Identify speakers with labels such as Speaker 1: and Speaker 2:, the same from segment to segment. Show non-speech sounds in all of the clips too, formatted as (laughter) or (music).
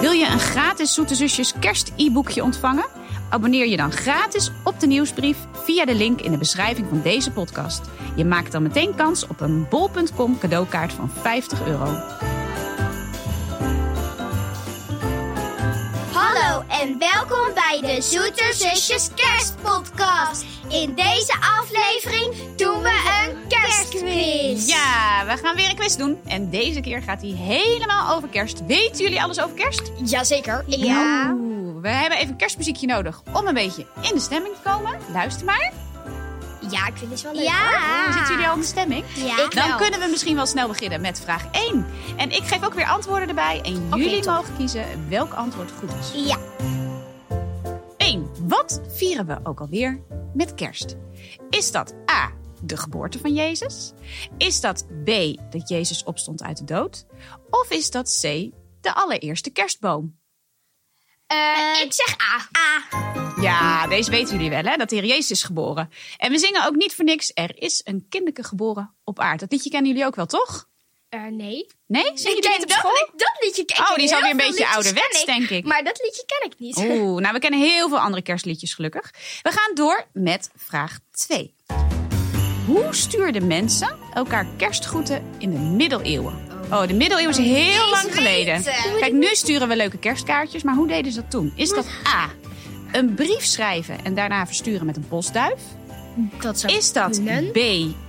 Speaker 1: Wil je een gratis Zoete Zusjes kerst-e-boekje ontvangen? Abonneer je dan gratis op de nieuwsbrief via de link in de beschrijving van deze podcast. Je maakt dan meteen kans op een bol.com cadeaukaart van 50 euro.
Speaker 2: Hallo en welkom bij de Zoeter Zusjes Kerstpodcast. In deze aflevering doen we een kerstquiz.
Speaker 1: Ja, we gaan weer een quiz doen. En deze keer gaat die helemaal over kerst. Weten jullie alles over kerst?
Speaker 3: Jazeker. Ik
Speaker 2: Ja.
Speaker 1: Oeh, we hebben even een kerstmuziekje nodig om een beetje in de stemming te komen. Luister maar.
Speaker 3: Ja, ik vind dit wel leuk.
Speaker 2: Ja.
Speaker 1: Zitten jullie al in de stemming?
Speaker 2: Ja.
Speaker 1: Dan kunnen we misschien wel snel beginnen met vraag 1. En ik geef ook weer antwoorden erbij. En
Speaker 3: Oké,
Speaker 1: jullie
Speaker 3: top.
Speaker 1: mogen kiezen welk antwoord goed is.
Speaker 2: Ja.
Speaker 1: 1. Wat vieren we ook alweer met kerst? Is dat A. De geboorte van Jezus? Is dat B. Dat Jezus opstond uit de dood? Of is dat C. De allereerste kerstboom?
Speaker 3: Eh,
Speaker 2: Ik zeg A. A.
Speaker 1: Ja, deze weten jullie wel, hè? Dat de Heer Jezus is geboren. En we zingen ook niet voor niks. Er is een kinderke geboren op aard. Dat liedje kennen jullie ook wel, toch?
Speaker 3: eh, nee.
Speaker 1: Nee? Zingen jullie niet op
Speaker 3: dat,
Speaker 1: school?
Speaker 3: dat liedje ken ik.
Speaker 1: Oh, die
Speaker 3: ken
Speaker 1: is alweer
Speaker 3: heel
Speaker 1: een beetje
Speaker 3: veel liedjes,
Speaker 1: ouderwets,
Speaker 3: ken
Speaker 1: denk ik.
Speaker 3: Maar dat liedje ken ik niet.
Speaker 2: (laughs)
Speaker 1: Oeh, nou we kennen heel veel andere kerstliedjes gelukkig. We gaan door met vraag 2. Hoe stuurden mensen elkaar kerstgroeten in de middeleeuwen? Oh, de middeleeuwen is heel lang geleden.
Speaker 2: weten.
Speaker 1: Kijk, nu sturen we leuke kerstkaartjes, maar hoe deden ze dat toen? Is dat A, een brief schrijven en daarna versturen met een postduif?
Speaker 3: Dat zou
Speaker 1: Is dat
Speaker 3: kunnen.
Speaker 1: B,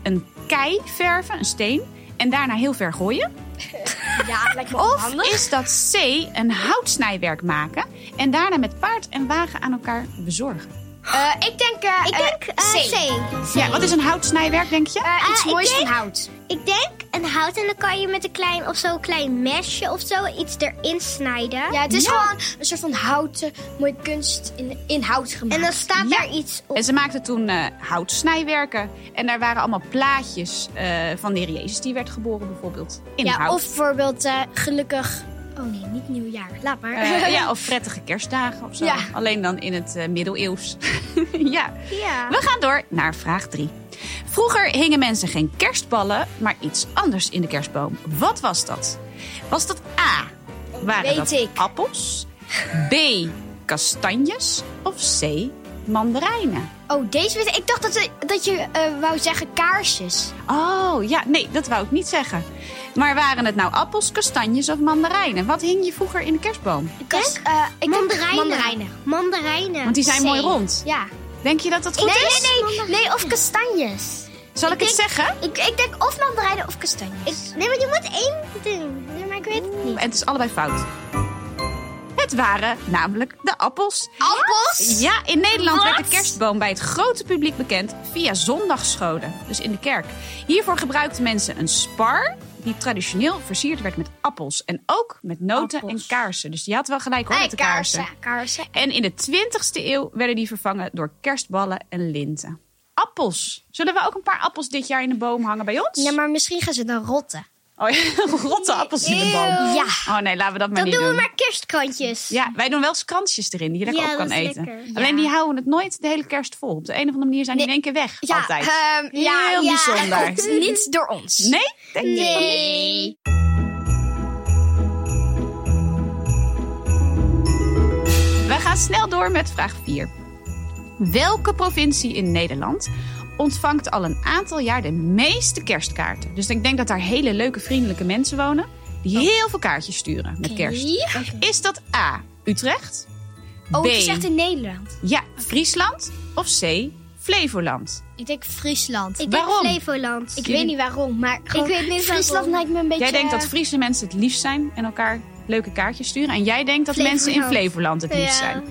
Speaker 1: een kei verven, een steen, en daarna heel ver gooien?
Speaker 3: Ja, lijkt me
Speaker 1: Of
Speaker 3: handig.
Speaker 1: is dat C, een houtsnijwerk maken en daarna met paard en wagen aan elkaar bezorgen?
Speaker 3: Eh, ik denk, eh,
Speaker 2: Ik
Speaker 3: eh,
Speaker 2: denk eh, C.
Speaker 3: Hm.
Speaker 1: Ja, wat is een houtsnijwerk, denk je?
Speaker 3: Eh, iets
Speaker 2: Ah, ik
Speaker 3: moois
Speaker 2: denk-
Speaker 3: van hout.
Speaker 2: Ik denk een hout en dan kan je met een klein of zo'n klein mesje of zo iets erin snijden.
Speaker 3: Ja, het is
Speaker 1: Ja.
Speaker 3: gewoon een soort van houten, mooie kunst in, in hout gemaakt.
Speaker 2: En dan staat
Speaker 1: Ja.
Speaker 2: daar iets op.
Speaker 1: En ze maakten toen eh, houtsnijwerken. En daar waren allemaal plaatjes eh, van de heer Jezus. Die werd geboren bijvoorbeeld in
Speaker 3: ja,
Speaker 1: hout.
Speaker 3: of bijvoorbeeld eh, gelukkig... Oh nee, niet nieuwjaar. Laat maar.
Speaker 1: (laughs)
Speaker 3: (laughs)
Speaker 1: Eh, ja, of prettige kerstdagen of zo.
Speaker 3: Ja.
Speaker 1: Alleen dan in het eh, middeleeuws. (laughs) ja.
Speaker 2: Ja.
Speaker 1: We gaan door naar vraag 3. Vroeger hingen mensen geen kerstballen, maar iets anders in de kerstboom. Wat was dat? Was dat A? Waren
Speaker 3: weet
Speaker 1: dat
Speaker 3: ik.
Speaker 1: appels? B. Kastanjes? Of C. Mandarijnen?
Speaker 3: Oh, deze weet ik. Ik dacht dat, dat je eh, wou zeggen kaarsjes.
Speaker 1: Oh, ja, nee, dat wou ik niet zeggen. Maar waren het nou appels, kastanjes of mandarijnen? Wat hing je vroeger in de kerstboom?
Speaker 3: Kas- eh, ik denk
Speaker 2: mandarijnen.
Speaker 3: mandarijnen.
Speaker 2: Mandarijnen.
Speaker 1: Want die zijn
Speaker 2: C.
Speaker 1: mooi rond.
Speaker 3: Ja.
Speaker 1: Denk je dat dat goed
Speaker 2: Nee,
Speaker 1: is?
Speaker 2: nee, nee, nee. Of kastanjes.
Speaker 1: Zal ik, het
Speaker 2: denk-
Speaker 1: zeggen?
Speaker 2: Ik, ik denk of mandarijnen of
Speaker 3: Kastanjes.
Speaker 2: Ik, nee, maar je moet één doen. Nee, maar ik weet het niet.
Speaker 1: En het is allebei fout. Het waren namelijk de appels.
Speaker 2: Appels?
Speaker 1: Ja, in Nederland werd
Speaker 2: Wat?
Speaker 1: de kerstboom bij het grote publiek bekend via zondagsscholen, dus in de kerk. Hiervoor gebruikten mensen een spar, die traditioneel versierd werd met appels. En ook met noten en kaarsen. Dus je had wel gelijk hoor, met de kaarsen.
Speaker 3: Kaarsen.
Speaker 1: En in de 20ste eeuw werden die vervangen door kerstballen en linten. Appels. Zullen we ook een paar appels dit jaar in de boom hangen bij ons?
Speaker 3: Ja, maar misschien gaan ze dan rotten.
Speaker 1: Oh ja, (laughs) rotte appels in de boom.
Speaker 3: Ja.
Speaker 1: Oh nee, laten we dat maar
Speaker 2: Dan
Speaker 1: niet
Speaker 2: doen we
Speaker 1: doen.
Speaker 2: maar kerstkrantjes.
Speaker 1: Ja, wij doen wel eens kransjes erin die je lekker
Speaker 2: Ja,
Speaker 1: op kan
Speaker 2: dat is
Speaker 1: eten.
Speaker 2: lekker.
Speaker 1: Alleen
Speaker 2: Ja.
Speaker 1: die houden het nooit de hele kerst vol. Op de een of andere manier zijn die in één keer weg. Altijd.
Speaker 3: ehm, ja,
Speaker 1: Heel
Speaker 3: ja,
Speaker 1: bijzonder.
Speaker 3: het komt niet door ons.
Speaker 1: Nee? Denk ik ook niet.
Speaker 2: Nee.
Speaker 1: We gaan snel door met vraag 4. Welke provincie in Nederland ontvangt al een aantal jaar de meeste kerstkaarten? Dus ik denk dat daar hele leuke, vriendelijke mensen wonen
Speaker 3: Oh.
Speaker 1: die heel veel kaartjes sturen met kerst. Is dat A. Utrecht?
Speaker 3: Oh,
Speaker 1: B.
Speaker 3: het is echt in Nederland.
Speaker 1: Ja, Friesland? Of C. Flevoland?
Speaker 3: Ik denk Friesland.
Speaker 2: Ik
Speaker 1: Waarom?
Speaker 2: denk Flevoland.
Speaker 3: Ik weet niet waarom, maar
Speaker 2: Ik weet niet
Speaker 3: Friesland
Speaker 2: waarom.
Speaker 3: lijkt me een beetje... eh,
Speaker 1: Jij denkt dat Friese mensen het liefst zijn en elkaar leuke kaartjes sturen. En jij denkt dat
Speaker 2: Flevoland.
Speaker 1: mensen in Flevoland het liefst
Speaker 2: Ja.
Speaker 1: zijn.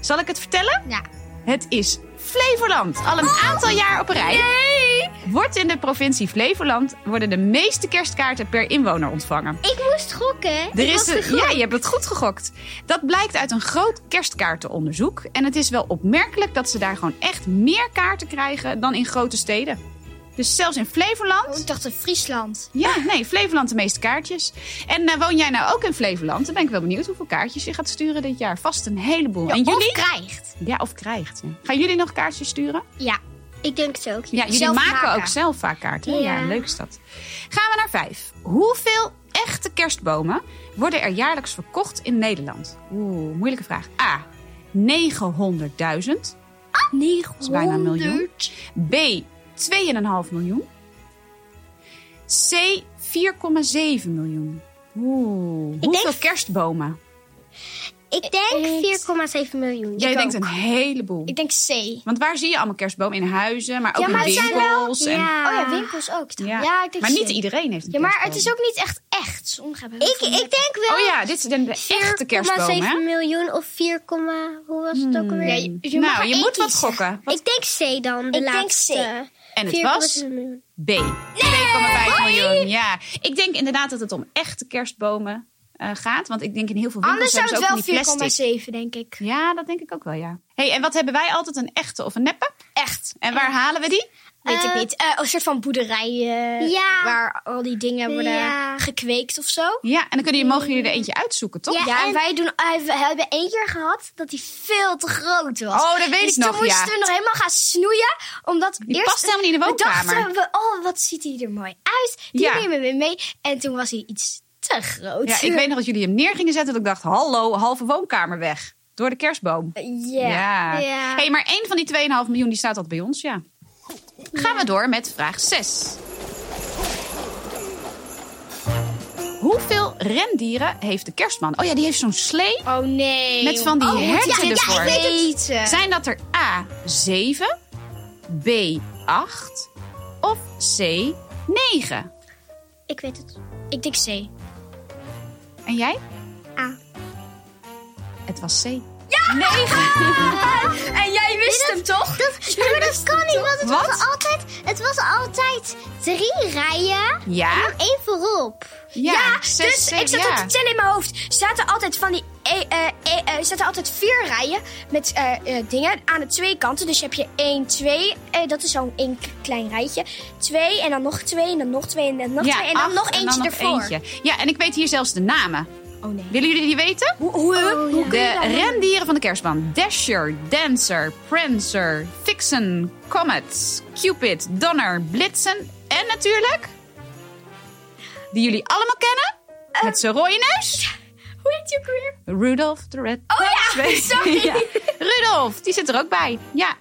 Speaker 1: Zal ik het vertellen?
Speaker 3: Ja.
Speaker 1: Het is Flevoland. Al een aantal jaar op een rij. Wordt in de provincie Flevoland worden de meeste kerstkaarten per inwoner ontvangen.
Speaker 2: Ik moest gokken.
Speaker 1: Er
Speaker 2: Ik
Speaker 1: is
Speaker 2: was
Speaker 1: een,
Speaker 2: gegokt.
Speaker 1: ja, je hebt het goed gegokt. Dat blijkt uit een groot kerstkaartenonderzoek. En het is wel opmerkelijk dat ze daar gewoon echt meer kaarten krijgen dan in grote steden. Dus zelfs in Flevoland
Speaker 3: Oh, ik dacht in Friesland.
Speaker 1: ja, nee, Flevoland de meeste kaartjes. En eh, woon jij nou ook in Flevoland? Dan ben ik wel benieuwd hoeveel kaartjes je gaat sturen dit jaar. Vast een heleboel. en jullie?
Speaker 3: Of krijgt.
Speaker 1: Ja, of krijgt. ja. Gaan jullie nog kaartjes sturen?
Speaker 3: Ja.
Speaker 2: Ik denk het ook.
Speaker 1: Ja, jullie
Speaker 3: Zelf
Speaker 1: maken,
Speaker 3: maken.
Speaker 1: ook zelf vaak kaarten. hè? Ja.
Speaker 2: Ja.
Speaker 1: leuk is dat. Gaan we naar vijf. Hoeveel echte kerstbomen worden er jaarlijks verkocht in Nederland? Oeh, moeilijke vraag. A. 900.000. Dat is bijna een miljoen. B. 2,5 miljoen. C. 4,7 miljoen. Oeh, hoeveel
Speaker 2: denk-
Speaker 1: kerstbomen?
Speaker 2: Ik
Speaker 3: Ik-
Speaker 2: denk 4,7 miljoen.
Speaker 1: Jij
Speaker 2: Ik
Speaker 1: denkt
Speaker 2: ook.
Speaker 1: een heleboel.
Speaker 3: Ik denk C.
Speaker 1: Want waar zie je allemaal kerstbomen? In huizen, maar ook
Speaker 2: Ja, maar
Speaker 1: in
Speaker 2: het zijn wel...
Speaker 1: winkels. en...
Speaker 2: Ja.
Speaker 3: Oh ja, winkels ook. Dan. Ja. ik denk
Speaker 1: maar
Speaker 3: C.
Speaker 1: niet iedereen heeft een
Speaker 3: Ja, maar het
Speaker 1: kerstboom.
Speaker 3: is ook niet echt echt. Sommigen hebben
Speaker 2: Ik, ik denk wel...
Speaker 1: Oh ja, dit zijn de echte kerstbomen, hè?
Speaker 2: 4,7 miljoen of 4, komma- hoe was het ook alweer?
Speaker 3: Nee, je mag
Speaker 1: Nou,
Speaker 3: er
Speaker 1: je
Speaker 3: één
Speaker 1: moet wat
Speaker 3: kiezen.
Speaker 1: gokken.
Speaker 2: Ik denk C dan, de
Speaker 3: Ik denk
Speaker 2: laatste.
Speaker 3: C.
Speaker 1: En het
Speaker 2: 4,7
Speaker 1: was
Speaker 2: miljoen.
Speaker 1: B. 2,5 miljoen. Ja, ik denk inderdaad dat het om echte kerstbomen eh, gaat. Want ik denk in heel veel winkels
Speaker 3: Anders zou
Speaker 1: hebben
Speaker 3: het
Speaker 1: ze ook van die plastic.
Speaker 3: wel 4,7 denk ik.
Speaker 1: Ja, dat denk ik ook wel, ja. hey, en wat hebben wij altijd? Een echte of een neppe?
Speaker 3: Echt.
Speaker 1: En waar halen we die?
Speaker 3: Weet ik
Speaker 2: Eh,
Speaker 3: niet. Eh, een soort van boerderij eh,
Speaker 2: Ja.
Speaker 3: waar al die dingen worden
Speaker 2: Ja.
Speaker 3: gekweekt of zo.
Speaker 1: Ja, en dan kunnen, jullie- mogen jullie er eentje uitzoeken, toch?
Speaker 3: Ja, en,
Speaker 2: en-
Speaker 3: wij doen, eh, we hebben één keer gehad dat die veel te groot was.
Speaker 1: Oh, dat weet
Speaker 3: dus
Speaker 1: ik nog,
Speaker 3: toen moesten
Speaker 1: ja.
Speaker 3: we nog helemaal gaan snoeien. Omdat
Speaker 1: Die
Speaker 3: eerst
Speaker 1: past helemaal niet in de woonkamer.
Speaker 3: We dachten, we, oh, wat ziet hij er mooi uit. Die
Speaker 1: Ja.
Speaker 3: nemen we mee. En toen was hij iets te groot.
Speaker 1: Ja, ik weet nog dat jullie hem neer gingen zetten. Dat ik dacht, hallo, halve woonkamer weg. Door de kerstboom.
Speaker 3: (laughs) Ja.
Speaker 1: Ja.
Speaker 3: Ja.
Speaker 1: Hey, maar één van die 2,5 miljoen die staat al bij ons, ja. Gaan we door met vraag 6. Hoeveel rendieren heeft de kerstman? Oh ja, die heeft zo'n slee
Speaker 3: Oh nee.
Speaker 1: met van die
Speaker 3: oh,
Speaker 1: herten
Speaker 3: ja,
Speaker 1: ervoor.
Speaker 3: Ja, ik weet het.
Speaker 1: Zijn dat er A, 7, B, 8 of C, 9?
Speaker 2: Ik weet het.
Speaker 3: Ik denk C.
Speaker 1: En jij?
Speaker 2: A.
Speaker 1: Het was C. (laughs)
Speaker 3: En jij wist hem toch?
Speaker 2: Ja, maar dat kan niet, want het,
Speaker 1: Wat?
Speaker 2: Was altijd, het was altijd drie rijen,
Speaker 1: Ja?
Speaker 2: één voorop.
Speaker 1: Ja, zes,
Speaker 3: dus
Speaker 1: zeven,
Speaker 3: ik zat
Speaker 1: ja.
Speaker 3: op te tellen in mijn hoofd. Zaten altijd van die. eh, eh, eh, eh, zaten altijd vier rijen met eh, eh, dingen aan de twee kanten. Dus heb je één, twee. eh, dat is zo'n één k- klein rijtje. Twee en dan nog twee en dan nog twee en dan nog twee. En dan
Speaker 1: acht
Speaker 3: nog eentje
Speaker 1: nog
Speaker 3: ervoor.
Speaker 1: eentje. Ja, en ik weet hier zelfs de namen.
Speaker 3: Oh nee.
Speaker 1: Willen jullie die weten?
Speaker 3: Hoe, hoe,
Speaker 2: Oh,
Speaker 3: hoe
Speaker 2: ja.
Speaker 3: kun je
Speaker 1: De
Speaker 3: dat?
Speaker 1: rendieren van de kerstman. Dasher, Dancer, Prancer, Vixen, Comet, Cupid, Donner, Blitzen en natuurlijk... Die jullie allemaal kennen.
Speaker 3: Ehm,
Speaker 1: met zijn rode neus.
Speaker 3: Hoe heet je ook weer?
Speaker 1: Rudolph de Red.
Speaker 3: Oh
Speaker 1: (laughs)
Speaker 3: ja,
Speaker 1: Twee.
Speaker 3: (laughs) sorry.
Speaker 1: Ja. Rudolf, die zit er ook bij. Ja.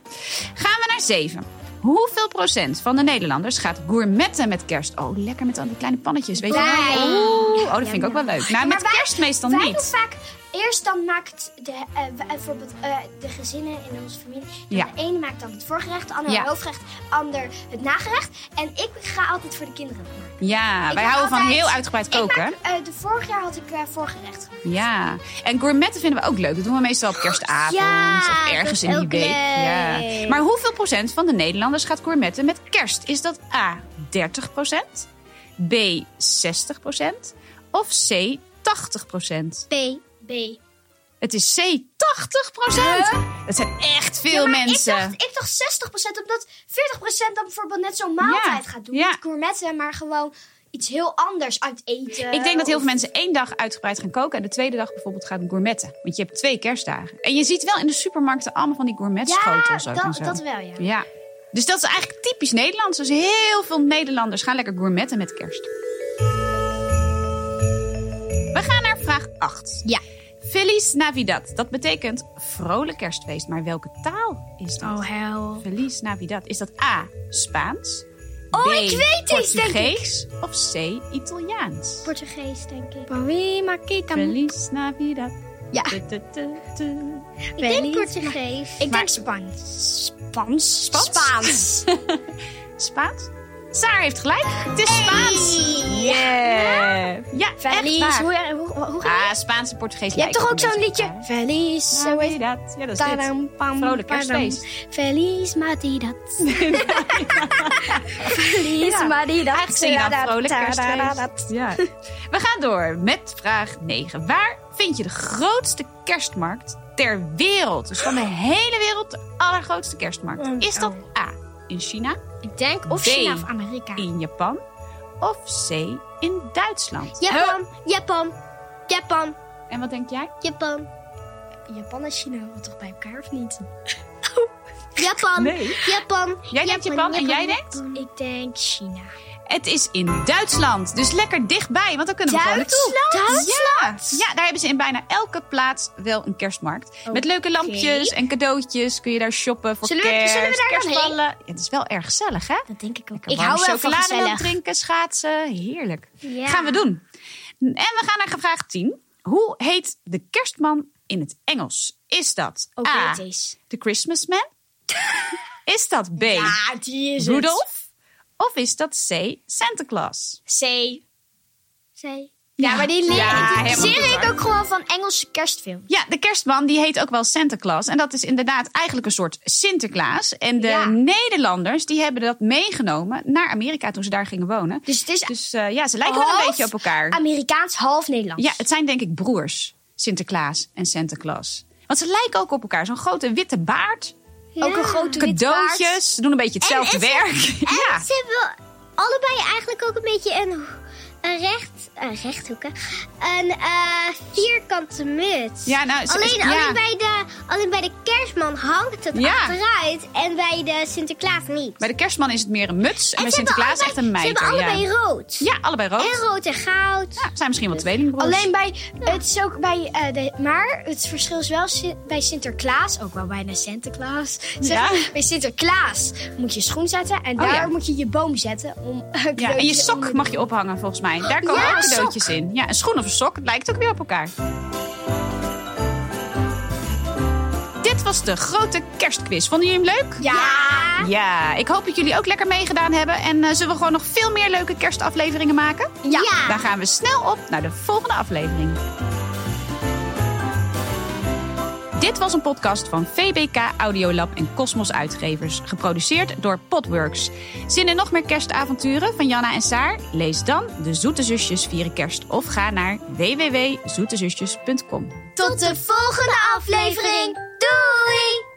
Speaker 1: Gaan we naar 7. Hoeveel procent van de Nederlanders gaat gourmetten met kerst? Oh, lekker met al die kleine pannetjes. Weet je
Speaker 3: Wij.
Speaker 1: wel? Oeh, oh, dat vind ik ook wel leuk. Nou, met
Speaker 3: wij-
Speaker 1: kerst meestal
Speaker 3: Wij doen
Speaker 1: niet.
Speaker 3: vaak. Eerst dan maakt de, eh, wij- bijvoorbeeld eh, de gezinnen in onze familie. Dan
Speaker 1: Ja.
Speaker 3: De een maakt dan het voorgerecht, de ander
Speaker 1: Ja.
Speaker 3: het hoofdgerecht, ander het nagerecht. En ik ga altijd voor de kinderen maken.
Speaker 1: Ja,
Speaker 3: Ik
Speaker 1: Nou, wij
Speaker 3: maak
Speaker 1: houden van
Speaker 3: altijd-
Speaker 1: heel uitgebreid
Speaker 3: Ik
Speaker 1: koken.
Speaker 3: maak, eh, de vorig jaar had ik eh, voorgerecht gemaakt.
Speaker 1: Ja, en gourmetten vinden we ook leuk. Dat doen we meestal op kerstavond
Speaker 2: Ja,
Speaker 1: of
Speaker 2: dat is
Speaker 1: ergens in die
Speaker 2: ook
Speaker 1: week.
Speaker 2: leuk.
Speaker 1: Ja. Maar hoeveel procent van de Nederlanders gaat gourmetten met kerst? Is dat A, 30 procent, B, 60 procent of C, 80 procent?
Speaker 2: B.
Speaker 3: B.
Speaker 1: Het is C, 80 procent! Dat zijn echt veel
Speaker 3: maar
Speaker 1: mensen.
Speaker 3: Ik dacht, ik dacht 60% omdat 40% dan bijvoorbeeld net zo'n maaltijd
Speaker 1: Ja,
Speaker 3: gaat doen.
Speaker 1: ja.
Speaker 3: Niet gourmetten, maar gewoon iets heel anders uit eten.
Speaker 1: Ik denk dat heel veel
Speaker 3: of-
Speaker 1: mensen één dag uitgebreid gaan koken en de tweede dag bijvoorbeeld gaan gourmetten. Want je hebt twee kerstdagen. En je ziet wel in de supermarkten allemaal van die gourmetschotels
Speaker 3: Ja,
Speaker 1: ook en
Speaker 3: dat,
Speaker 1: zo.
Speaker 3: dat wel, ja.
Speaker 1: Ja. Dus dat is eigenlijk typisch Nederlands. Dus heel veel Nederlanders gaan lekker gourmetten met kerst. We gaan naar vraag 8.
Speaker 3: Ja.
Speaker 1: Feliz Navidad. Dat betekent vrolijk kerstfeest. Maar welke taal is dat?
Speaker 3: Oh, hel.
Speaker 1: Feliz Navidad. Is dat A, Spaans?
Speaker 3: Oh,
Speaker 1: B,
Speaker 3: ik weet deze, denk ik.
Speaker 1: Portugees of C, Italiaans?
Speaker 2: Portugees, denk ik.
Speaker 3: Poema kita
Speaker 1: Feliz Navidad.
Speaker 3: Ja.
Speaker 1: Tu, tu, tu, tu.
Speaker 2: Ik denk Portugees.
Speaker 3: Ik denk Spaans. Spans?
Speaker 1: Spans?
Speaker 3: (laughs) Spaans.
Speaker 1: Spaans? Saar heeft gelijk. Het is Spaans.
Speaker 2: Hey.
Speaker 1: Yeah. Ja, echt
Speaker 3: Feliz.
Speaker 1: waar.
Speaker 3: Hoe, hoe, hoe gaat
Speaker 1: Ah, Spaanse Portugees.
Speaker 3: Je hebt toch ook zo'n liedje? Feliz. Zo heet het.
Speaker 1: Navidad. Ja, dat is dit.
Speaker 3: Tadam, pam,
Speaker 1: Vrolijk
Speaker 3: padam.
Speaker 1: kerstfeest.
Speaker 3: Feliz Navidad. (laughs) Feliz
Speaker 1: Ja.
Speaker 3: Navidad.
Speaker 1: Eigenlijk zing je dan
Speaker 3: Tadam,
Speaker 1: vrolijk
Speaker 3: tadam,
Speaker 1: kerstfeest.
Speaker 3: (laughs)
Speaker 1: Ja. We gaan door met vraag 9. Waar vind je de grootste kerstmarkt ter wereld? Dus van de hele wereld de allergrootste
Speaker 3: Oh,
Speaker 1: kerstmarkt. Is dat A, in China,
Speaker 3: Ik denk of
Speaker 1: B.
Speaker 3: China of Amerika.
Speaker 1: in Japan of C, in Duitsland?
Speaker 2: Japan, Japan, Japan,
Speaker 1: En wat denk jij?
Speaker 2: Japan,
Speaker 3: Japan en China horen toch bij elkaar of (laughs) niet?
Speaker 2: Japan,
Speaker 3: Oh.
Speaker 1: Nee.
Speaker 2: Japan.
Speaker 1: Jij denkt Japan en jij denkt?
Speaker 3: Ik denk China.
Speaker 1: Het is in Duitsland. Dus lekker dichtbij, want dan kunnen we gewoon naartoe.
Speaker 3: Duitsland?
Speaker 1: Ja, daar hebben ze in bijna elke plaats wel een kerstmarkt. Met leuke lampjes en cadeautjes kun je daar shoppen voor
Speaker 3: Zullen we-
Speaker 1: kerst,
Speaker 3: zullen we daar dan
Speaker 1: kerstballen. Ja, het is wel erg gezellig, hè?
Speaker 3: Dat denk ik ook.
Speaker 1: Ik hou wel van drinken, schaatsen. Heerlijk.
Speaker 2: Ja.
Speaker 1: Gaan we doen. En we gaan naar vraag 10. Hoe heet de kerstman in het Engels? Is dat
Speaker 3: Ook
Speaker 1: A,
Speaker 3: Oh, weet deze.
Speaker 1: de Christmas
Speaker 3: (laughs)
Speaker 1: man? is dat B,
Speaker 3: Ja, die is
Speaker 1: Rudolph? Of is dat C, Santa Claus?
Speaker 3: het. C.
Speaker 2: Zij.
Speaker 3: Ja, maar die leer
Speaker 1: Ja,
Speaker 3: ik, die
Speaker 1: helemaal goed,
Speaker 3: leer ik
Speaker 1: hoor.
Speaker 3: ook gewoon van Engelse kerstfilm.
Speaker 1: Ja, de kerstman die heet ook wel Santa Claus. En dat is inderdaad eigenlijk een soort Sinterklaas. En de
Speaker 3: Ja.
Speaker 1: Nederlanders die hebben dat meegenomen naar Amerika toen ze daar gingen wonen.
Speaker 3: Dus Oh. het is
Speaker 1: Dus eh, ja, ze lijken wel
Speaker 3: half
Speaker 1: een beetje op elkaar.
Speaker 3: Amerikaans, half Nederlands.
Speaker 1: Ja, het zijn denk ik broers. Sinterklaas en Santa Claus. Want ze lijken ook op elkaar. Zo'n grote witte baard.
Speaker 3: Ook een grote wit paard.
Speaker 1: Cadeautjes. Ze doen een beetje hetzelfde
Speaker 2: En- en ze-
Speaker 1: werk.
Speaker 2: En
Speaker 1: ja.
Speaker 2: ze hebben allebei eigenlijk ook een beetje een, een recht, een rechthoeken, een eh, vierkante muts.
Speaker 1: Ja, nou, ze-
Speaker 2: alleen,
Speaker 1: ja.
Speaker 2: alleen, bij de, alleen bij de kerstman hangt het
Speaker 1: Ja.
Speaker 2: achteruit en bij de Sinterklaas niet.
Speaker 1: Bij de kerstman is het meer een muts. En,
Speaker 2: En
Speaker 1: bij
Speaker 2: ze hebben
Speaker 1: Sinterklaas echt een
Speaker 2: allebei-
Speaker 1: mijter.
Speaker 2: Ze hebben
Speaker 1: ja.
Speaker 2: allebei rood.
Speaker 1: ja, allebei rood.
Speaker 2: En rood en goud.
Speaker 1: Ja, zijn misschien wel tweelingbroers.
Speaker 3: Alleen bij, het is ook bij, eh, de, maar het verschil is wel si- bij Sinterklaas, ook wel bijna Sinterklaas. Zeg
Speaker 1: Ja.
Speaker 3: maar, Bij Sinterklaas moet je schoen zetten en
Speaker 1: Oh,
Speaker 3: daar
Speaker 1: ja.
Speaker 3: moet je je boom zetten. Om (laughs) een
Speaker 1: Ja, en je
Speaker 3: cadeautje
Speaker 1: sok
Speaker 3: onder-
Speaker 1: mag je ophangen volgens mij. Daar komen
Speaker 3: Ja,
Speaker 1: ook
Speaker 3: een
Speaker 1: cadeautjes in. Ja, een schoen of een sok. Het lijkt ook weer op elkaar. Dit was de grote kerstquiz. Vonden jullie hem leuk?
Speaker 3: Ja.
Speaker 1: Ja, ik hoop dat jullie ook lekker meegedaan hebben. En eh, zullen we gewoon nog veel meer leuke kerstafleveringen maken?
Speaker 3: Ja.
Speaker 2: Ja.
Speaker 1: Dan gaan we snel op naar de volgende aflevering. Dit was een podcast van VBK Audiolab en Cosmos Uitgevers, geproduceerd door Podworks. Zin in nog meer kerstavonturen van Janna en Saar? Lees dan De Zoete Zusjes Vieren Kerst of ga naar www.zoetezusjes.com.
Speaker 2: Tot de volgende aflevering. Doei!